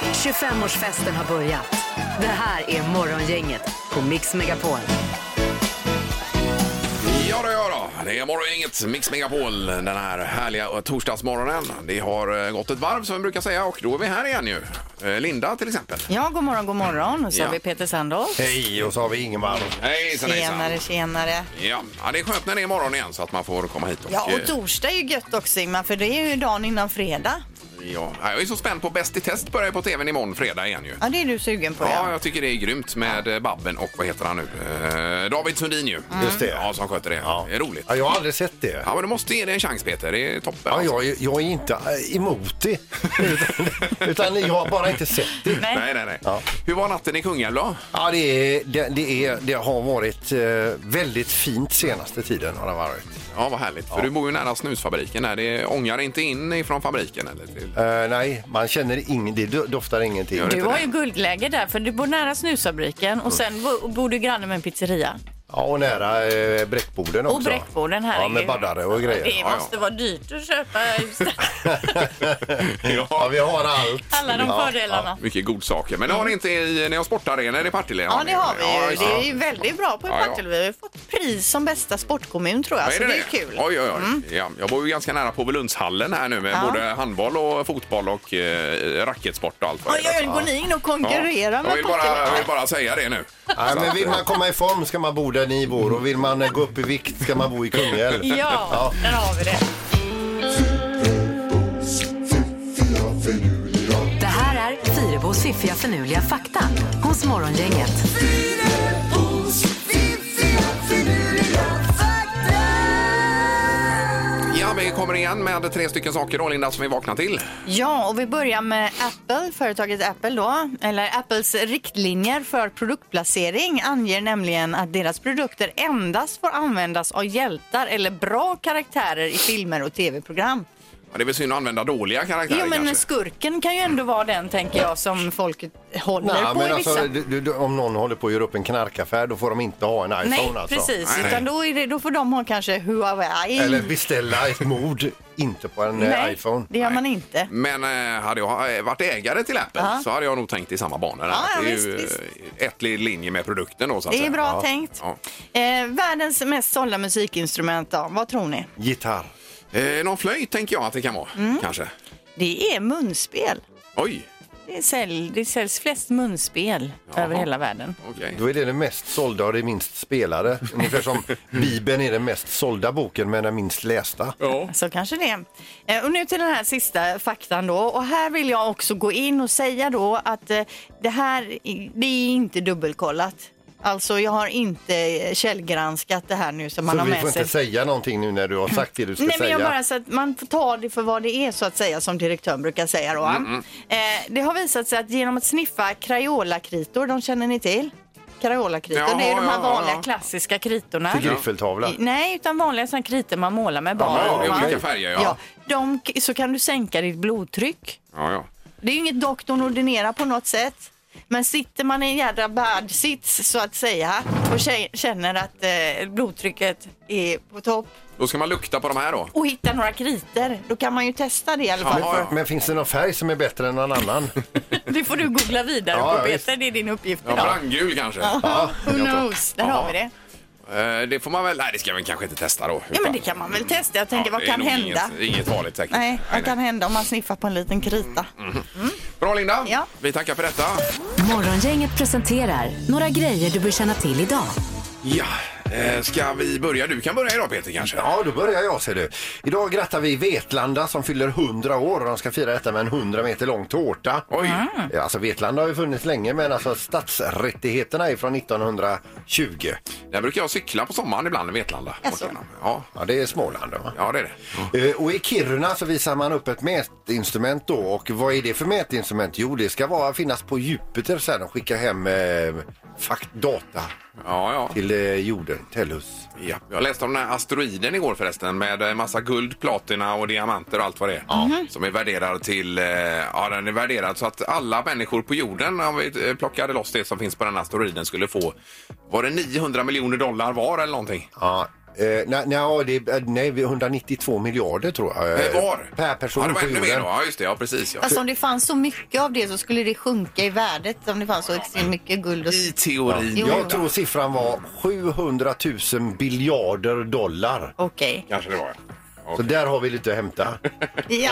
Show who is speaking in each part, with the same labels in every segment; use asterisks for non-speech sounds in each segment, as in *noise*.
Speaker 1: 25-årsfesten har börjat. Det här är Morgongänget på Mix Megapol.
Speaker 2: Ja då, ja då. Det är morgongänget Mix Megapol den här härliga torsdagsmorgonen. Det har eh, gått ett varv som vi brukar säga och då är vi här igen ju. Eh, Linda till exempel.
Speaker 3: Ja, god morgon, god morgon. Och så
Speaker 2: Ja.
Speaker 3: har vi Peter Sandholt.
Speaker 4: Hej, och så har vi Ingemar.
Speaker 2: Hejsan
Speaker 3: Tjenare,
Speaker 2: hejsan.
Speaker 3: tjenare.
Speaker 2: Ja. ja, det är skönt när det är morgon igen så att man får komma hit. Och,
Speaker 3: Ja,
Speaker 2: eh,
Speaker 3: och torsdag är ju gött också Ingmar, för det är ju dagen innan fredag.
Speaker 2: ja. Ja, Jag är så spänd på Bäst i test börjar på tvn imorgon fredag igen ju.
Speaker 3: Ja, det är du sugen på
Speaker 2: Ja,
Speaker 3: ja.
Speaker 2: jag tycker det är grymt med eh, Babben och vad heter han nu? Eh, David Sundin ju.
Speaker 4: Mm. Just det.
Speaker 2: Ja, som sköter det. Det är roligt.
Speaker 4: Ja, jag har aldrig sett det.
Speaker 2: Ja, men du måste ge det en chans Peter. Det är toppen.
Speaker 4: Ja,
Speaker 2: alltså.
Speaker 4: jag, är- jag är inte äh,
Speaker 2: *laughs*
Speaker 4: emot det, utan, utan jag har bara inte sett det.
Speaker 3: Nej.
Speaker 2: Nej, nej, nej.
Speaker 4: Ja.
Speaker 2: Hur var natten i Kungälv då?
Speaker 4: Ja, det, är, det, det, är, det har varit eh, väldigt fint senaste tiden. Har det varit.
Speaker 2: Ja, vad härligt. För du bor ju nära snusfabriken. Där. Det ångar inte in ifrån fabriken. Eller till...
Speaker 4: Eh, nej, man känner ing, det do- doftar ingenting.
Speaker 2: Gör det? Mm.
Speaker 5: Du har ju guldläge där, för du bor nära snusfabriken och sen bo- bor du granne med en pizzeria.
Speaker 4: Ja, och nära eh, bräckborden också.
Speaker 5: Och bräckborden, herregud.
Speaker 4: Ja, med baddare och
Speaker 5: Det
Speaker 4: grejer.
Speaker 2: ja.
Speaker 5: måste vara dyrt att köpa
Speaker 2: *laughs*
Speaker 4: Ja, vi har allt.
Speaker 5: alla de
Speaker 4: Ja,
Speaker 5: fördelarna.
Speaker 2: Mycket godsaker. Men det har ni inte i, ni har sportarenor i Partille?
Speaker 3: Mm. ja, det har
Speaker 2: Ja,
Speaker 3: vi ju.
Speaker 2: just
Speaker 3: Det är ju väldigt bra på
Speaker 2: Ja, ja.
Speaker 3: Partille. Vi har ju fått pris som bästa sportkommun tror jag,
Speaker 2: Ja,
Speaker 3: så alltså, det är kul. Mm.
Speaker 2: Oj, oj, oj. Ja, jag bor ju ganska nära Påvelundshallen här nu med
Speaker 3: Ja.
Speaker 2: både handboll och fotboll och eh, racketsport och allt vad
Speaker 3: Oj,
Speaker 2: det är.
Speaker 3: oj, går ni in och konkurrerar
Speaker 2: Ja. Jag
Speaker 3: med
Speaker 2: vill, bara, jag
Speaker 3: Partille?
Speaker 2: vill bara säga det nu.
Speaker 4: Nej, men vill man komma i form ska man bo där ni bor och vill man eh, gå upp i vikt ska man bo i Kungälv.
Speaker 5: Ja, där har vi det.
Speaker 1: Det här är Fyrebos fiffiga förnuliga fakta hos Morgongänget.
Speaker 2: Ja, vi kommer igen med tre stycken saker då, Linda, som vi vaknar till.
Speaker 3: Ja, och vi börjar med Apple, företaget Apple då. Eller Apples riktlinjer för produktplacering anger nämligen att deras produkter endast får användas av hjältar eller bra karaktärer i filmer och tv-program.
Speaker 2: Ja, det är väl synd att använda dåliga karaktärer
Speaker 3: Jo, men
Speaker 2: kanske.
Speaker 3: skurken kan ju ändå vara den, tänker jag, som folk håller
Speaker 4: Nej,
Speaker 3: på
Speaker 4: men
Speaker 3: i
Speaker 4: alltså,
Speaker 3: vissa...
Speaker 4: du, du, du, om någon håller på att göra upp en knarkaffär då får de inte ha en iPhone
Speaker 3: Nej,
Speaker 4: alltså.
Speaker 3: precis.
Speaker 2: Nej, nej.
Speaker 3: Utan då, är det, då får de ha kanske Huawei.
Speaker 4: Eller beställa ett mord, inte på en eh,
Speaker 3: Nej,
Speaker 4: iPhone.
Speaker 3: det gör man inte.
Speaker 2: Men eh, hade jag eh, varit ägare till Apple så hade jag nog tänkt i samma banor.
Speaker 3: Ja,
Speaker 2: Att det är
Speaker 3: ja,
Speaker 2: ju
Speaker 3: visst,
Speaker 2: eh, ett i linje med produkten då så att
Speaker 3: Det är
Speaker 2: säga.
Speaker 3: bra
Speaker 2: ja.
Speaker 3: tänkt.
Speaker 2: Ja.
Speaker 3: Eh, världens mest sålda musikinstrument då, vad tror ni?
Speaker 4: Gitarr.
Speaker 2: Eh, någon flöjt tänker jag att det kan vara,
Speaker 3: Mm.
Speaker 2: kanske.
Speaker 3: Det är munspel.
Speaker 2: Oj,
Speaker 5: Det, sälj, det säljs flest munspel över hela världen.
Speaker 2: okej.
Speaker 4: Då är det den mest sålda och det minst spelade. Ungefär som Bibeln är den mest sålda boken men den minst lästa.
Speaker 2: Ja.
Speaker 3: Så kanske det. Eh, Och nu till den här sista faktan då. Och här vill jag också gå in och säga då att eh, det här det är inte dubbelkollat. Alltså jag har inte eh, källgranskat det här nu som man
Speaker 4: Så
Speaker 3: har
Speaker 4: vi
Speaker 3: med
Speaker 4: får
Speaker 3: sig.
Speaker 4: inte säga någonting nu när du har sagt det du ska
Speaker 3: Nej, men
Speaker 4: säga.
Speaker 3: jag bara så att man får ta det för vad det är så att säga som direktören brukar säga då. va?
Speaker 4: Mm,
Speaker 3: Eh, det har visat sig att genom att sniffa Crayola-kritor, de känner ni till? Crayola-kritor,
Speaker 2: Jaha,
Speaker 3: det är de här
Speaker 2: ja,
Speaker 3: vanliga
Speaker 2: ja.
Speaker 5: Klassiska kritorna.
Speaker 4: Till griffeltavla.
Speaker 5: I- Nej, utan vanliga såna kritor man målar med barn.
Speaker 2: Ja, det är
Speaker 4: okej.
Speaker 2: olika färger, ja.
Speaker 3: Ja, de, så kan du sänka ditt blodtryck.
Speaker 2: ja, ja.
Speaker 3: Det är ju inget doktorn ordinerar på något sätt. Men sitter man i en jädra bad sits så att säga och kä- känner att eh, blodtrycket är på topp
Speaker 2: Då ska man lukta på de här då.
Speaker 3: och hittar några kriter, då kan man ju testa det i alla fall.
Speaker 2: Ja, ja.
Speaker 4: Men, men finns det någon färg som är bättre än någon annan?
Speaker 3: *laughs*
Speaker 5: Det får du googla vidare
Speaker 4: Ja,
Speaker 5: på
Speaker 4: ja,
Speaker 5: Peter, det är din uppgift
Speaker 2: Ja,
Speaker 5: idag.
Speaker 2: Brandgul kanske.
Speaker 3: Who knows? Där
Speaker 2: Jaha.
Speaker 3: har vi det.
Speaker 2: Eh, det får man väl, nej det ska man kanske inte testa då.
Speaker 3: Ja, men det kan man väl testa. Jag tänker,
Speaker 2: Ja,
Speaker 3: vad
Speaker 2: det är
Speaker 3: kan
Speaker 2: nog
Speaker 3: hända?
Speaker 2: Inget, inget farligt säkert.
Speaker 3: Nej, vad kan hända om man sniffar på en liten krita?
Speaker 2: Bra Linda,
Speaker 3: Ja.
Speaker 2: vi tackar för detta.
Speaker 1: Morgongänget presenterar några grejer du bör känna till idag.
Speaker 2: Ja, eh, ska vi börja? Du kan börja idag Peter kanske?
Speaker 4: Ja, då börjar jag ser du. Idag grattar vi Vetlanda som fyller 100 år och de ska fira detta med en 100 meter lång tårta.
Speaker 2: Oj.
Speaker 4: Ja, Alltså Vetlanda har ju funnits länge men alltså stadsrättigheterna är från 1920.
Speaker 2: Där brukar jag cykla på sommaren ibland i Vetlanda.
Speaker 3: Jaså?
Speaker 2: Åt igenom. Ja.
Speaker 4: Ja, det är Småland. Va?
Speaker 2: ja, det är det.
Speaker 4: Eh, Och i Kiruna så visar man upp ett mätinstrument då och vad är det för mätinstrument? Jo, det ska vara, finnas på Jupiter sen och skicka hem eh, fakt, data
Speaker 2: Ja, ja.
Speaker 4: till eh, jorden, Tellus.
Speaker 2: Ja, jag läste om den här asteroiden igår förresten med en massa guld, platina och diamanter och allt vad det är. Som är värderad till, eh, ja den är värderad så att alla människor på jorden om vi eh, plockade loss det som finns på den här asteroiden skulle få, var det 900 miljoner dollar var eller någonting?
Speaker 4: Ja, Eh, nej, nej, det, är- nej, vi- 192 miljarder tror jag.
Speaker 2: Eh, Var?
Speaker 4: Per person
Speaker 2: ja, det var
Speaker 4: på
Speaker 2: ännu mer
Speaker 4: jorden.
Speaker 2: då. Ja, just det. Ja, precis. Ja.
Speaker 3: Alltså om det fanns så mycket av det så skulle det sjunka i värdet om det fanns så extremt mycket guld. Och...
Speaker 2: I teorin.
Speaker 3: Jo,
Speaker 2: ja.
Speaker 3: jo.
Speaker 4: Jag tror siffran var 700 000 biljarder dollar.
Speaker 3: Okej.
Speaker 2: Kanske det var. ja.
Speaker 4: Så där har vi lite att hämta.
Speaker 3: Ja.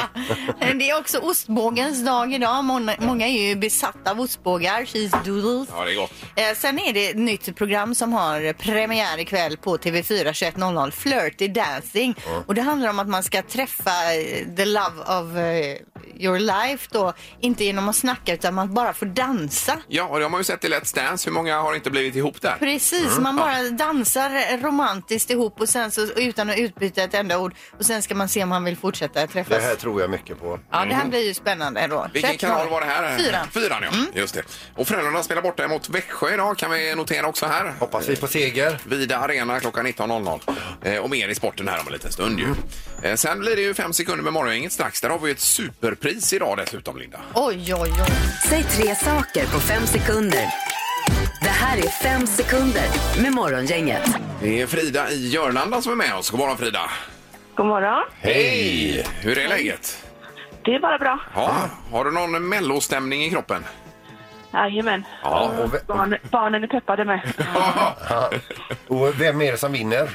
Speaker 3: Det är också ostbågens dag idag. Många, många är ju besatta av ostbågar, cheese doodles.
Speaker 2: Ja, det är gott.
Speaker 3: Eh, Sen är det ett nytt program som har premiär ikväll på TV4 21.00, Flirty Dancing. Och det handlar om att man ska träffa eh, the love of eh, your life då. Inte genom att snacka utan man bara får dansa.
Speaker 2: Ja, och det har man ju sett i Let's Dance. Hur många har inte blivit ihop där?
Speaker 3: Precis, man bara dansar romantiskt ihop och sen så, och utan att utbyta ett enda ord. Och sen ska man se om han vill fortsätta
Speaker 4: Det
Speaker 3: träffas.
Speaker 4: här tror jag mycket på.
Speaker 3: Ja, det här blir ju spännande då.
Speaker 2: Vilken
Speaker 3: 21.00.
Speaker 2: kanal var det här?
Speaker 3: Fyran.
Speaker 2: Fyran, ja. Just det. Och Frölunda spelar borta mot Växjö idag kan vi notera också här.
Speaker 4: Hoppas vi på seger.
Speaker 2: Vida Arena klockan 19.00. Eh, och mer i sporten här om en liten stund ju. Eh, sen blir det ju fem sekunder med morgongänget strax. Där har vi ju ett superpris idag dessutom, Linda.
Speaker 3: Oj, oj, oj.
Speaker 1: Säg tre saker på fem sekunder. Det här är fem sekunder med Morgongänget.
Speaker 2: Det är Frida i Jörlanda som är med oss. God morgon Frida!
Speaker 6: God morgon.
Speaker 2: Hej! Hur är läget?
Speaker 6: Det är bara bra.
Speaker 2: Ja, har du någon mellostämning i kroppen?
Speaker 6: Jajamän.
Speaker 4: Ja, och, ve-
Speaker 6: Barn, barnen är peppade med.
Speaker 4: och vem är det som vinner?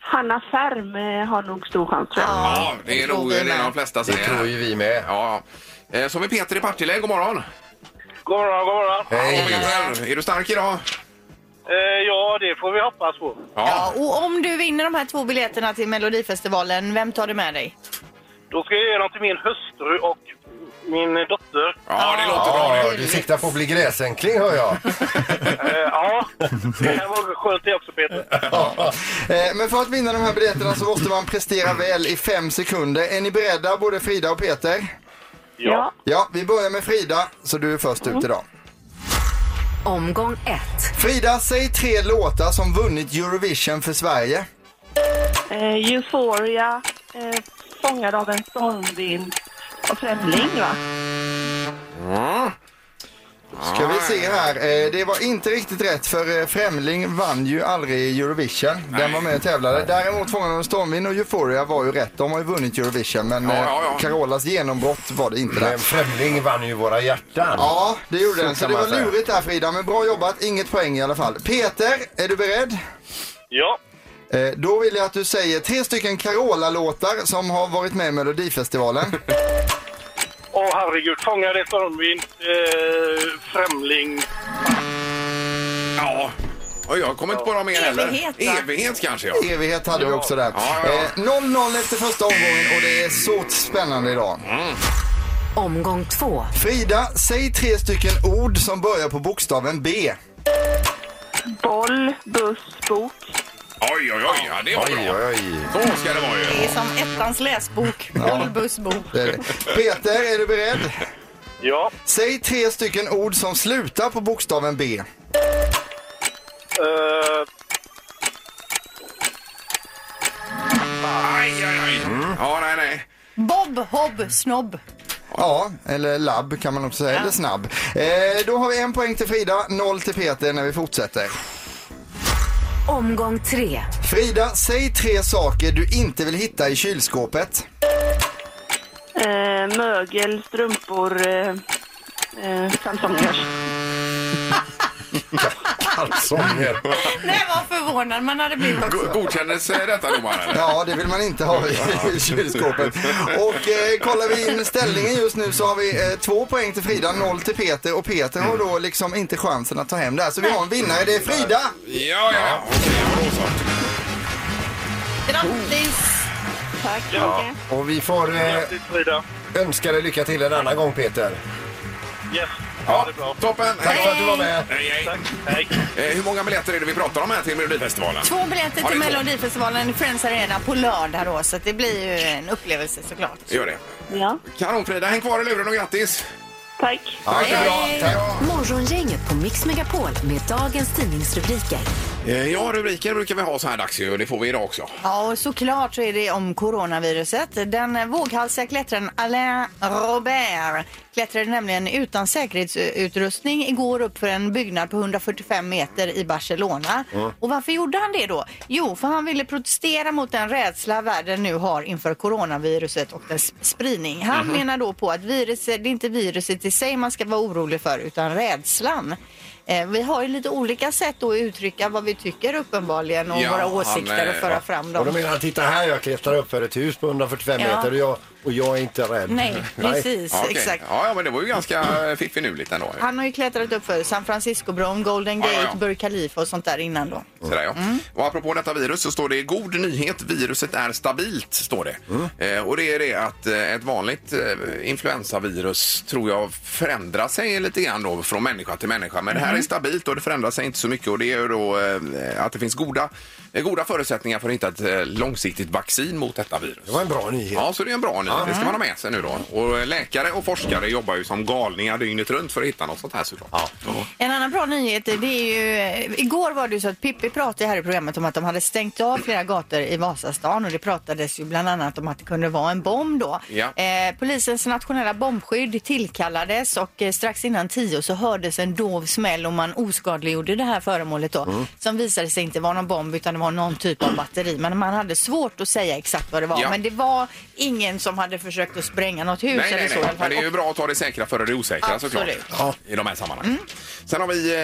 Speaker 6: Hanna Färm eh, har nog stor chans tror
Speaker 2: *laughs*
Speaker 6: jag.
Speaker 2: Ja, det är nog det är de flesta
Speaker 4: Det tror
Speaker 2: säger.
Speaker 4: ju vi med.
Speaker 2: Ja. Eh, Så har vi Peter i Partille. God morgon!
Speaker 7: God morgon, god morgon.
Speaker 2: Hej
Speaker 4: Hej!
Speaker 2: Peter! Är du stark idag?
Speaker 7: Eh, ja, det får vi hoppas på.
Speaker 3: Ja, och om du vinner de här två biljetterna till Melodifestivalen, vem tar du med dig?
Speaker 7: Då ska jag ge dem till min hustru och min dotter.
Speaker 2: Ja, det låter bra
Speaker 4: Ja,
Speaker 2: det.
Speaker 4: du siktar på att bli gräsänkling hör jag.
Speaker 7: Eh,
Speaker 2: *laughs*
Speaker 7: ja, det här var skönt det också Peter.
Speaker 8: Eh, Men för att vinna de här biljetterna så måste man prestera väl i fem sekunder. Är ni beredda både Frida och Peter?
Speaker 6: Ja.
Speaker 8: Ja, vi börjar med Frida, så du är först ut idag.
Speaker 1: Omgång ett.
Speaker 8: Frida, säg tre låtar som vunnit Eurovision för Sverige.
Speaker 6: Eh, Euphoria, eh, Fångad av en stormvind och Främling va?
Speaker 8: Ska vi se
Speaker 2: Ah.
Speaker 8: här. Eh, Det var inte riktigt rätt för eh, Främling vann ju aldrig Eurovision. Den var med och tävlade. Däremot Fångarna av stormvind och Euphoria var ju rätt. De har ju vunnit Eurovision men
Speaker 2: Ja,
Speaker 8: eh,
Speaker 2: ja, ja.
Speaker 8: Carolas genombrott var det inte där.
Speaker 4: Men Främling vann ju våra hjärtan.
Speaker 8: Ja, det gjorde
Speaker 4: Så
Speaker 8: den. Så
Speaker 4: kan
Speaker 8: det
Speaker 4: man
Speaker 8: var
Speaker 4: säga.
Speaker 8: lurigt där Frida, men bra jobbat. Inget poäng i alla fall. Peter, är du beredd?
Speaker 7: Ja,
Speaker 8: Eh, Då vill jag att du säger tre stycken Carola-låtar som har varit med
Speaker 2: *laughs*
Speaker 8: i Melodifestivalen.
Speaker 7: åh herregud. Fångad i stormvind, eh, främling.
Speaker 2: Ja. Oj, jag kommer inte på dem mer heller.
Speaker 3: Evighet, va?
Speaker 2: Evighet kanske, ja.
Speaker 8: Evighet hade vi också där.
Speaker 2: Ja, ja, ja.
Speaker 8: Eh, 0-0 efter första omgången och det är så spännande idag.
Speaker 1: Omgång två.
Speaker 8: Frida, säg tre stycken ord som börjar på bokstaven B.
Speaker 6: Boll, buss, bok.
Speaker 2: Oj, oj, oj. Ja, det var
Speaker 4: Oj,
Speaker 2: bra.
Speaker 4: oj, oj.
Speaker 2: Så ska det vara ju.
Speaker 3: Det är som ettans läsbok, bollbussbok.
Speaker 8: Det är det. Peter, är du beredd?
Speaker 7: Ja,
Speaker 8: Säg tre stycken ord som slutar på bokstaven B.
Speaker 7: eh,
Speaker 2: Aj, aj, aj. Ja, nej, nej.
Speaker 3: Bob, hobb, snobb.
Speaker 8: Ja, eller labb kan man också säga, eller snabb. Eh, då har vi en poäng till Frida, noll till Peter när vi fortsätter.
Speaker 1: Omgång tre.
Speaker 8: Frida, säg tre saker du inte vill hitta i kylskåpet.
Speaker 6: Eh, mögel, strumpor, eh, eh, Samsoners.
Speaker 4: Kalsonger.
Speaker 3: Nej, vad förvånad man hade blivit också.
Speaker 2: Go- Godkändes eh, detta domaren?
Speaker 8: Ja, det vill man inte ha i kylskåpet. Och eh, kollar vi in ställningen just nu så har vi eh, två poäng till Frida, noll till Peter och Peter har då liksom inte chansen att ta hem det här. Så vi har en vinnare, det är Frida!
Speaker 2: Ja, ja, ja. Okej, då så.
Speaker 3: Grattis!
Speaker 6: Tack så mycket.
Speaker 4: Och vi får eh,
Speaker 7: grattis Frida.
Speaker 4: önska dig lycka till en annan gång Peter.
Speaker 7: Yes, ha
Speaker 2: Ja,
Speaker 7: det bra.
Speaker 2: toppen.
Speaker 4: Tack för att du var med.
Speaker 2: Hej, hej.
Speaker 7: Tack, hej.
Speaker 2: Eh, Hur många biljetter är det vi pratar om här till Melodifestivalen?
Speaker 3: Två biljetter
Speaker 2: Ja, det
Speaker 3: till
Speaker 2: är två.
Speaker 3: Melodifestivalen i Friends Arena på lördag då, så att det blir ju en upplevelse såklart.
Speaker 2: Det Gör det.
Speaker 6: Ja,
Speaker 2: Kanon, Frida. Häng kvar i luren och grattis.
Speaker 6: tack.
Speaker 4: Ha det bra. Tack.
Speaker 1: Morgongänget på Mix Megapol med dagens tidningsrubriker.
Speaker 2: Eh, Ja, rubriker brukar vi ha så här dags ju och det får vi idag också.
Speaker 3: Ja, och såklart så är det om coronaviruset. Den våghalsiga klättraren Alain Robert klättrade nämligen utan säkerhetsutrustning igår upp för en byggnad på 145 meter i Barcelona. Och varför gjorde han det då? Jo, för han ville protestera mot den rädsla världen nu har inför coronaviruset och dess spridning. Han
Speaker 2: Mhm.
Speaker 3: menar då på att virus, det är inte viruset i sig man ska vara orolig för, utan rädslan. Eh, Vi har ju lite olika sätt då att uttrycka vad vi tycker uppenbarligen och
Speaker 2: Ja,
Speaker 3: våra
Speaker 2: han,
Speaker 3: åsikter
Speaker 2: eh,
Speaker 3: och föra fram
Speaker 4: Och
Speaker 3: dem.
Speaker 4: då menar han, titta här, jag klättrar upp för ett hus på 145
Speaker 5: Ja.
Speaker 4: meter och jag, och jag är inte
Speaker 2: *laughs*
Speaker 4: rädd.
Speaker 5: Nej, precis.
Speaker 2: Ja, okej.
Speaker 3: exakt.
Speaker 2: Ja, ja, men det var ju ganska eh, fiffinuligt ändå. ju.
Speaker 3: Han har ju klättrat upp för San Francisco-bron, Golden
Speaker 2: Ja,
Speaker 3: Gate,
Speaker 2: ja, ja.
Speaker 3: Burj Khalifa och sånt där innan då.
Speaker 2: Sådär, ja.
Speaker 4: Mm.
Speaker 2: Och apropå detta virus så står det god nyhet, viruset är stabilt. står det.
Speaker 4: Mm.
Speaker 2: Eh, och det är det att eh, ett vanligt eh, influensavirus tror jag förändrar sig lite grann då från människa till människa. Men det
Speaker 4: Mm.
Speaker 2: här är stabilt och det förändrar sig inte så mycket och det är ju då eh, att det finns goda, eh, goda förutsättningar för att hitta ett eh, långsiktigt vaccin mot detta virus.
Speaker 4: Det var en bra nyhet.
Speaker 2: Ja, så det är en bra nyhet. Det ska man ha med sig nu då. Och eh, läkare och forskare jobbar ju som galningar dygnet runt för att hitta något sånt här såklart.
Speaker 3: En annan bra nyhet det är ju, igår var det ju så att Pippi pratade här i programmet om att de hade stängt av flera gator i Vasastan och det pratades ju bland annat om att det kunde vara en bomb då.
Speaker 2: Ja.
Speaker 3: Eh, polisens nationella bombskydd tillkallades och eh, strax innan tio så hördes en dov smäll och man oskadliggjorde det här föremålet då
Speaker 2: Mm.
Speaker 3: som visade sig inte vara någon bomb utan det var någon typ av batteri. Men man hade svårt att säga exakt vad det var.
Speaker 2: Ja.
Speaker 3: Men det var ingen som hade försökt att spränga något hus
Speaker 2: Nej,
Speaker 3: eller
Speaker 2: nej,
Speaker 3: så i
Speaker 2: nej.
Speaker 3: alla
Speaker 2: Men
Speaker 3: fall.
Speaker 2: det är ju bra att ta det säkra före det osäkra
Speaker 3: Absolut.
Speaker 2: såklart. I de här sammanhangen.
Speaker 4: Mm.
Speaker 2: Sen har vi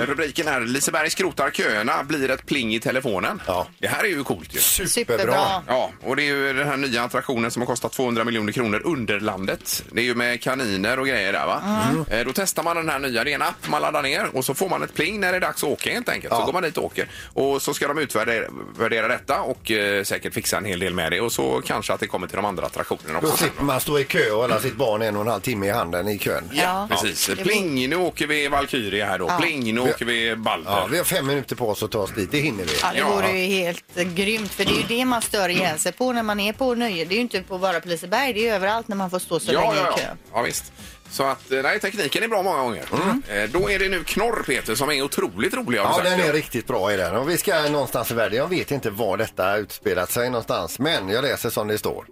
Speaker 2: eh, rubriken här. Liseberg skrotar köerna, blir ett pling i telefonen.
Speaker 4: Ja.
Speaker 2: Det här är ju coolt ju.
Speaker 3: Och
Speaker 4: Superbra.
Speaker 2: Ja, och det är ju den här nya attraktionen som har kostat 200 miljoner kronor, Underlandet. Det är ju med kaniner och grejer där va?
Speaker 4: Mm.
Speaker 2: Eh, Då testar man den här nya, det är en app man laddar ner och så får man ett pling när det är dags att åka helt enkelt. Så går man dit och åker. Och så ska de utvärdera värdera detta och eh, säkert fixa en hel del med det och så kanske att det kommer till de andra attraktionerna
Speaker 4: Då
Speaker 2: också.
Speaker 4: slipper man stå i kö och hålla sitt barn en och en halv timme i handen i kön.
Speaker 2: Ja,
Speaker 3: Ja.
Speaker 2: precis.
Speaker 3: Det blir-
Speaker 2: Pling, nu åker vi Valkyria här då. Pling, nu åker vi Balder.
Speaker 4: Ja, vi har fem minuter på oss att ta oss dit, det hinner vi.
Speaker 3: Ja, det
Speaker 2: Ja.
Speaker 3: vore ju helt eh, grymt för det är ju det man stör ihjäl sig på när man är på nöje. Det är ju inte på bara på Liseberg, det är ju överallt när man får stå så
Speaker 2: ja,
Speaker 3: länge
Speaker 2: ja,
Speaker 3: i
Speaker 2: ja.
Speaker 3: kö. Mm.
Speaker 2: ja, visst. Så att, eh, nej, tekniken är bra många gånger. Eh, Då är det nu knorr, Peter, som är otroligt rolig. har du
Speaker 4: Ja,
Speaker 2: sagt,
Speaker 4: den
Speaker 2: ja.
Speaker 4: är riktigt bra i den. Och vi ska någonstans i världen. Jag vet inte var detta utspelat sig någonstans, men jag läser som det står.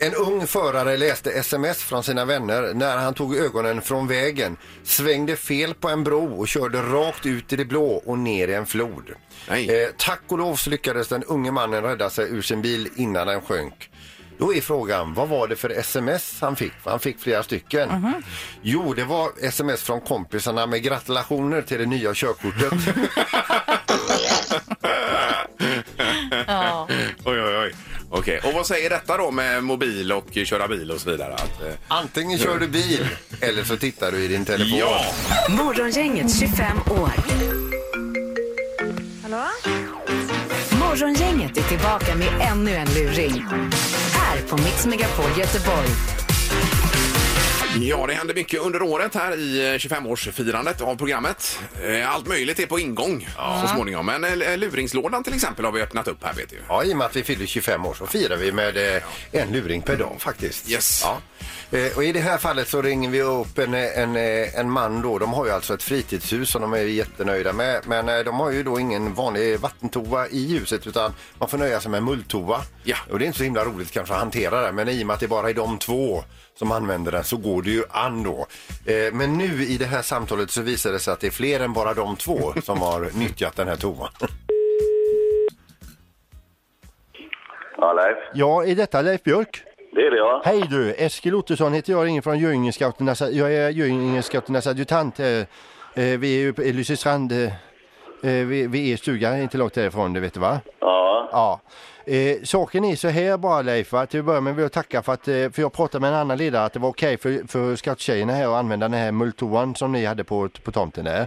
Speaker 4: En ung förare läste sms från sina vänner när han tog ögonen från vägen, svängde fel på en bro och körde rakt ut i det blå och ner i en flod.
Speaker 2: Nej.
Speaker 4: Eh, tack och lov så lyckades den unge mannen rädda sig ur sin bil innan den sjönk. Då är frågan, vad var det för sms han fick? Han fick flera stycken. Jo, det var sms från kompisarna med gratulationer till det nya körkortet.
Speaker 3: *laughs* Ja.
Speaker 2: oj, oj, oj. Okej, och vad säger detta då med mobil och eh, köra bil och så vidare? Att, eh,
Speaker 4: Antingen kör du bil eller så tittar du i din telefon.
Speaker 2: ja!
Speaker 1: Morgongänget 25 år.
Speaker 6: Hallå?
Speaker 1: Morgongänget är tillbaka med ännu en luring. Här på Mix Megapol Göteborg.
Speaker 2: Ja, det händer mycket under året här i eh, 25-årsfirandet av programmet. Eh, Allt möjligt är på ingång så småningom. Men eh, luringslådan till exempel har vi öppnat upp här, vet du.
Speaker 4: Ja, i och med att vi fyller 25 år så firar vi med eh, en luring per dag faktiskt.
Speaker 2: Yes.
Speaker 4: Ja. Eh, Och I det här fallet så ringer vi upp en, eh, en, eh, en man då. De har ju alltså ett fritidshus som de är jättenöjda med. Men eh, de har ju då ingen vanlig vattentoa i huset utan man får nöja sig med mulltoa.
Speaker 2: Ja.
Speaker 4: Och det är inte så himla roligt kanske att hantera det. Men i och med att det bara är de två som använder den så går det ju an då. Eh, Men nu i det här samtalet så visar det sig att det är fler än bara de två som har nyttjat den här toan.
Speaker 9: Ja, Leif.
Speaker 10: Ja, är detta Leif Björk?
Speaker 9: Det är det, ja.
Speaker 10: Hej du, Eskil Ottosson heter jag, ringer från Göingescouternas, jag är Göingescouternas adjutant här. Eh, Vi är ju på Lysestrand, eh, eh, vid vid er stuga, inte långt därifrån, det vet du va?
Speaker 9: Ja,
Speaker 10: Ja. Eh, saken är så här bara Leif, va? till att börja med vill jag tacka för att, eh, för jag pratade med en annan ledare att det var okej för, för scouttjejerna här att använda den här multoan som ni hade på, på tomten där.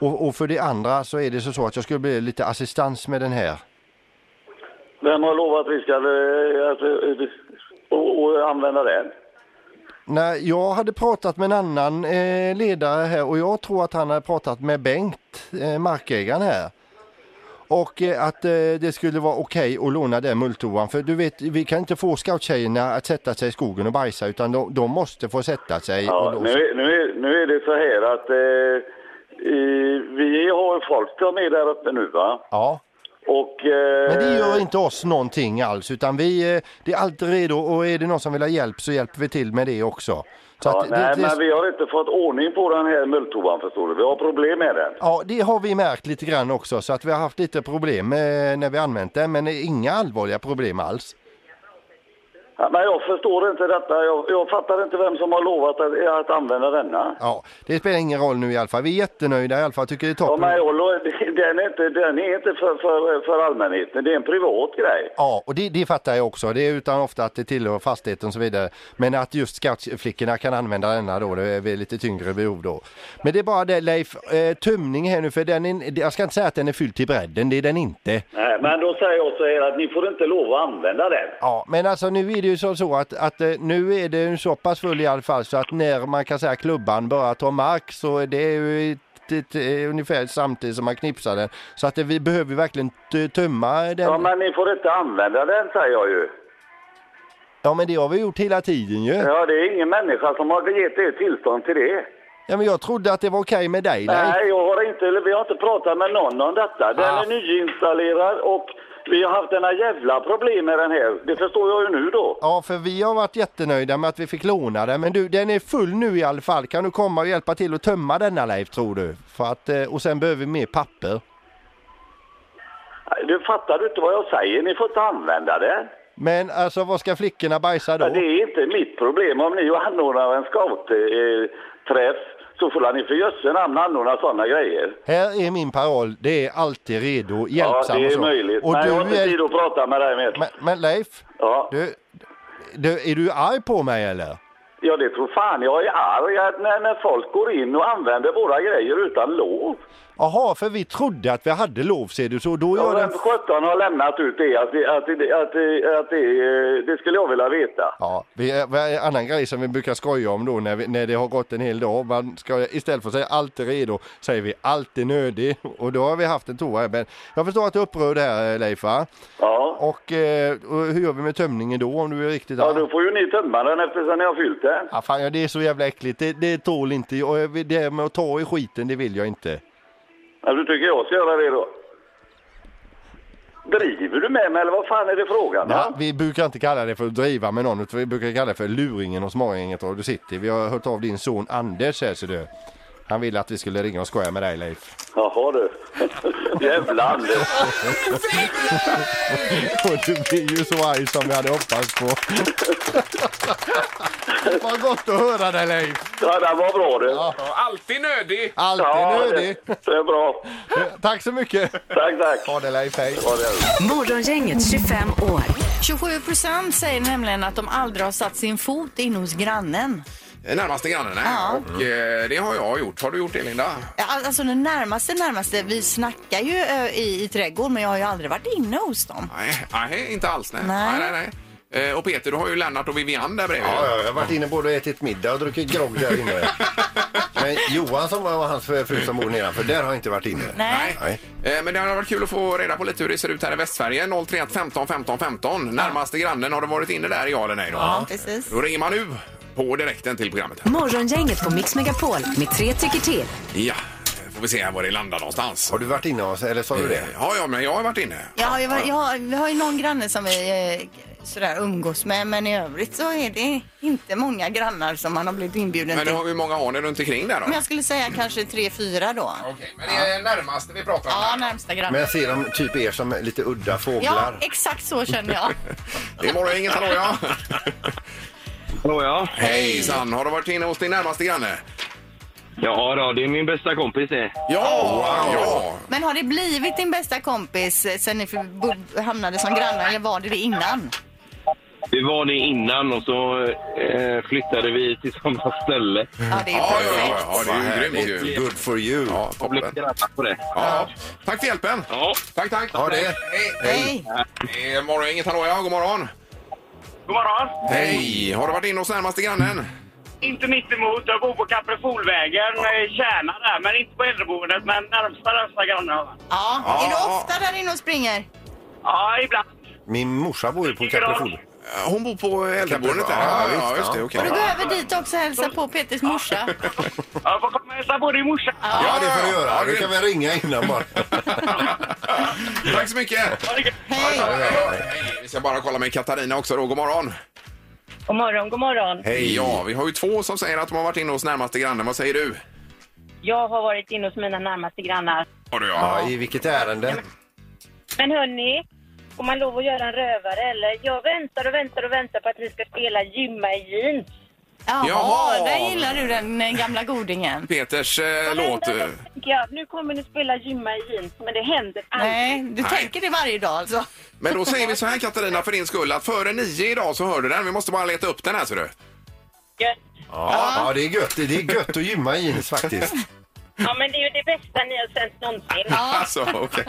Speaker 10: Och, och för det andra så är det så, så att jag skulle bli lite assistans med den här.
Speaker 9: vem har lovat att vi ska eh, att, eh, och, och använda den?
Speaker 10: Nej, jag hade pratat med en annan eh, ledare här och jag tror att han hade pratat med Bengt, eh, markägaren här. Och eh, att eh, det skulle vara okej att låna den mulltoan för du vet, vi kan inte få scouttjejerna att sätta sig i skogen och bajsa utan de, de måste få sätta sig.
Speaker 9: Ja,
Speaker 10: och då,
Speaker 9: nu, är- nu, är- nu är det så här att eh, Eh, vi har folk där med där uppe nu va?
Speaker 4: Ja.
Speaker 9: Och... Eh,
Speaker 4: Men det gör inte oss någonting alls utan vi, eh, det är alltid redo och är det någon som vill ha hjälp så hjälper vi till med det också. Så
Speaker 9: Ja,
Speaker 4: att det,
Speaker 9: nej,
Speaker 4: det,
Speaker 9: men vi har inte fått ordning på den här mulltoan förstår du. Vi har problem med den.
Speaker 4: Ja, det har vi märkt lite grann också så att vi har haft lite problem eh, när vi använt den men inga allvarliga problem alls.
Speaker 9: Ja, men jag förstår inte detta. Jag, jag fattar inte vem som har lovat att, att använda denna.
Speaker 4: Ja, det spelar ingen roll nu i alla fall. Vi är jättenöjda i alla fall, tycker det är
Speaker 9: Ja,
Speaker 4: toppen.
Speaker 9: men jag, lo- *laughs* den är inte, den är inte för, för, för allmänheten. Det är en privat grej.
Speaker 4: Ja, och det, det fattar jag också. Det är utan ofta att det tillhör fastigheten och så vidare. Men att just skattflickorna kan använda denna då, det är väl lite tyngre behov då. Men det är bara det Leif, eh, tömning här nu för den är, jag ska inte säga att den är fylld till bredden, det är den inte.
Speaker 9: Nej, men då säger jag så här att ni får inte lov att använda den.
Speaker 4: Ja, men alltså nu är det ju så, så att, att eh, nu är det ju så pass full i alla fall så att när man kan säga klubban börjar ta mark så är det ju ett, ett, eh, ungefär samtidigt som man knipsar den. Så att det, vi behöver ju verkligen t- tömma den.
Speaker 9: Ja, men ni får inte använda den säger jag ju.
Speaker 4: Ja, men det har vi gjort hela tiden ju.
Speaker 9: Ja, det är ingen människa som har gett er tillstånd till det.
Speaker 4: Ja, men jag trodde att det var okej med dig.
Speaker 9: Nej,
Speaker 4: Leif.
Speaker 9: jag har inte, eller vi har inte pratat med någon om detta. Den
Speaker 4: Ah.
Speaker 9: är nyinstallerad och vi har haft denna jävla problem med den här. Det förstår jag ju nu då.
Speaker 4: Ja, för vi har varit jättenöjda med att vi fick låna den. Men du, den är full nu i alla fall. Kan du komma och hjälpa till att tömma denna Leif, tror du? För att, eh, och sen behöver vi mer papper.
Speaker 9: Du fattar du inte vad jag säger? Ni får inte använda den.
Speaker 4: Men alltså, vad ska flickorna bajsa
Speaker 9: Ja,
Speaker 4: då?
Speaker 9: det är inte mitt problem. Om ni anordnar en scoutträff eh, träff, så får ni för jösse namn anordna sådana grejer.
Speaker 4: Här är min paroll. Det är alltid redo,
Speaker 9: Ja,
Speaker 4: hjälpsam
Speaker 9: det
Speaker 4: och
Speaker 9: är
Speaker 4: så.
Speaker 9: möjligt.
Speaker 4: Och
Speaker 9: Men
Speaker 4: du
Speaker 9: jag har inte
Speaker 4: är...
Speaker 9: tid att prata med dig mer.
Speaker 4: men, men Leif,
Speaker 9: Ja.
Speaker 4: du, du, är du arg på mig eller?
Speaker 9: Ja, det tror fan jag är arg att när, när folk går in och använder våra grejer utan lov.
Speaker 4: Jaha, för vi trodde att vi hade lov, ser du. Så då
Speaker 9: Ja,
Speaker 4: gör
Speaker 9: vem
Speaker 4: den...
Speaker 9: 17 har lämnat ut det? Att, det- att, det- att, det- att det, det skulle jag vilja veta.
Speaker 4: Ja, vi, en annan grej som vi brukar skoja om då när, vi, när det har gått en hel dag. Man ska, istället för att säga alltid redo säger vi alltid nödig. *laughs* Och då har vi haft en toa. här. Men jag förstår att du är upprörd här eh, Leif va?
Speaker 9: Ja.
Speaker 4: Och, eh, och hur gör vi med tömningen då om du är riktigt
Speaker 9: Ja,
Speaker 4: arg?
Speaker 9: då får ju ni tömma den eftersom ni har fyllt den.
Speaker 4: Ja, fan, ja, det är så jävla äckligt. Det, det tål inte jag. Och jag vill- Det här med att ta i skiten, det vill jag inte.
Speaker 9: Ja, du tycker jag ska göra det då? Driver du med mig eller vad fan är det frågan?
Speaker 4: Ja,
Speaker 9: va?
Speaker 4: vi brukar inte kalla det för att driva med någon, utan vi brukar kalla det för luringen och smarringen och du sitter. Vi har hört av din son Anders här, ser du. Han ville att vi skulle ringa och skoja med dig Leif. *laughs*
Speaker 9: Jaha du. *laughs* Jävla Anders.
Speaker 4: Och du blir ju så arg som vi hade hoppats
Speaker 9: *laughs*
Speaker 4: på. Vad gott att höra dig Leif!
Speaker 9: Ja, den var bra du.
Speaker 2: Ja, alltid nödig!
Speaker 4: Alltid
Speaker 9: Ja,
Speaker 4: nödig!
Speaker 9: det, det är bra.
Speaker 4: Tack så mycket!
Speaker 9: Tack, tack.
Speaker 4: Ha det Leif, hej!
Speaker 9: Ja, det är det.
Speaker 1: Morgongänget 25 år.
Speaker 3: 27 procent säger nämligen att de aldrig har satt sin fot in hos grannen.
Speaker 2: Eh, Närmaste grannen
Speaker 3: Ja.
Speaker 2: här. Och eh, det har jag gjort. Har du gjort det Linda?
Speaker 3: Ja, Alltså den närmaste närmaste, vi snackar ju ö, i, i trädgården men jag har ju aldrig varit inne hos dem.
Speaker 2: Nej, nej inte alls. Nej.
Speaker 3: Nej.
Speaker 2: Nej, nej, nej. Eh, Och Peter, du har ju Lennart och Vivian där bredvid.
Speaker 11: Ja, ja, jag har varit inne både och ätit middag och druckit grogg där inne. Men Johan som var och hans fru som bor nedanför, där har jag inte varit inne.
Speaker 3: Nej.
Speaker 11: Nej.
Speaker 2: Eh, Men det hade varit kul att få reda på lite hur det ser ut här i Västsverige. 031 15 15 15. Närmaste grannen, har du varit inne där, ja eller nej? Då,
Speaker 3: Precis.
Speaker 2: då ringer man nu på direkten till programmet. Här.
Speaker 1: Morgongänget på Mix Megapol med tre tycker till.
Speaker 2: Ja, eh, får vi se här var det landar någonstans.
Speaker 11: Har du varit inne hos, eller sa du det?
Speaker 2: Ja, ja, men jag har varit inne.
Speaker 3: Jag har, ju varit- jag har, vi har ju någon granne som vi eh, sådär umgås med men i övrigt så är det inte många grannar som man har blivit inbjuden
Speaker 2: Men
Speaker 3: till.
Speaker 2: har vi många har ni runt omkring där då?
Speaker 3: Men jag skulle säga kanske tre, fyra då.
Speaker 2: Okej, men det är närmaste vi pratar om.
Speaker 3: Ja,
Speaker 2: här.
Speaker 3: närmsta granne.
Speaker 11: Men ser de typ er som lite udda
Speaker 3: Ja,
Speaker 11: fåglar?
Speaker 3: exakt så känner jag.
Speaker 2: Det är morgongänget, hallå ja.
Speaker 12: Hallå ja.
Speaker 2: Hejsan, har du varit inne hos din närmaste granne?
Speaker 12: Ja då, det är min bästa kompis det.
Speaker 2: Ja, ja.
Speaker 3: Men har det blivit din bästa kompis eh, sen ni för- bo- hamnade som grannar eller var det det innan?
Speaker 12: Det var det innan och så eh, flyttade vi till samma ställe.
Speaker 3: Ja, det är
Speaker 2: Ja, ja, ja,
Speaker 3: perfekt.
Speaker 2: ja, det är ju grymt ju.
Speaker 11: Good for you.
Speaker 2: Ja,
Speaker 12: Jag blev
Speaker 2: toppen.
Speaker 12: grannar på det.
Speaker 2: Ja. Tack för hjälpen.
Speaker 12: Ja.
Speaker 2: Tack, tack.
Speaker 11: Ha det.
Speaker 2: Hej.
Speaker 3: Hej.
Speaker 2: Det är morgon, inget hallå ja, god morgon.
Speaker 12: God morgon!
Speaker 2: Hej! Har du varit inne hos närmaste grannen?
Speaker 12: Inte mitt emot. Jag bor på Kaprefolvägen, i Kärna där, men inte på äldreboendet. Men närmsta, närmsta grannar.
Speaker 3: Ja, är du ofta där inne och springer?
Speaker 12: Ja, ibland.
Speaker 11: Min morsa bor ju på Kaprifol.
Speaker 2: Hon bor på äldreboendet där.
Speaker 9: Ja,
Speaker 2: Ja,
Speaker 9: visst,
Speaker 2: ja, just det.
Speaker 9: ja.
Speaker 2: Okej.
Speaker 3: Du går över dit också och hälsar på Peters morsa.
Speaker 9: Jag får komma och hälsa på din morsa.
Speaker 13: Ja, det får du göra. Du kan väl ringa innan bara.
Speaker 2: *laughs* Tack så mycket! Hej! Vi ska bara kolla med Katarina också då. God morgon!
Speaker 12: God morgon, god morgon.
Speaker 2: Hej! Ja, vi har ju två som säger att de har varit inne hos närmaste grannen. Vad säger du?
Speaker 12: Jag har varit inne hos mina närmaste grannar.
Speaker 2: Har du
Speaker 13: Ja, i vilket ärende?
Speaker 12: Men hörni, får man lov att göra en rövare eller? Jag väntar och väntar och väntar på att vi ska spela gymma i jeans.
Speaker 3: Jaha,
Speaker 2: Jaha.
Speaker 3: där gillar du den eh, gamla godingen.
Speaker 2: Peters eh, låt. eh,
Speaker 12: Tänker jag, nu kommer ni spela gymma i jeans, men det händer aldrig.
Speaker 3: Nej, du
Speaker 2: Nej.
Speaker 3: tänker det varje dag alltså.
Speaker 2: Men då säger vi så här Katarina för din skull att före nio idag så hör du den. Vi måste bara leta upp den här ser du.
Speaker 13: Ja, ja det, är gött. det är gött att gymma i jeans faktiskt.
Speaker 12: Ja, men det är ju det bästa ni har sänt någonsin.
Speaker 2: *laughs* Alltså, okej.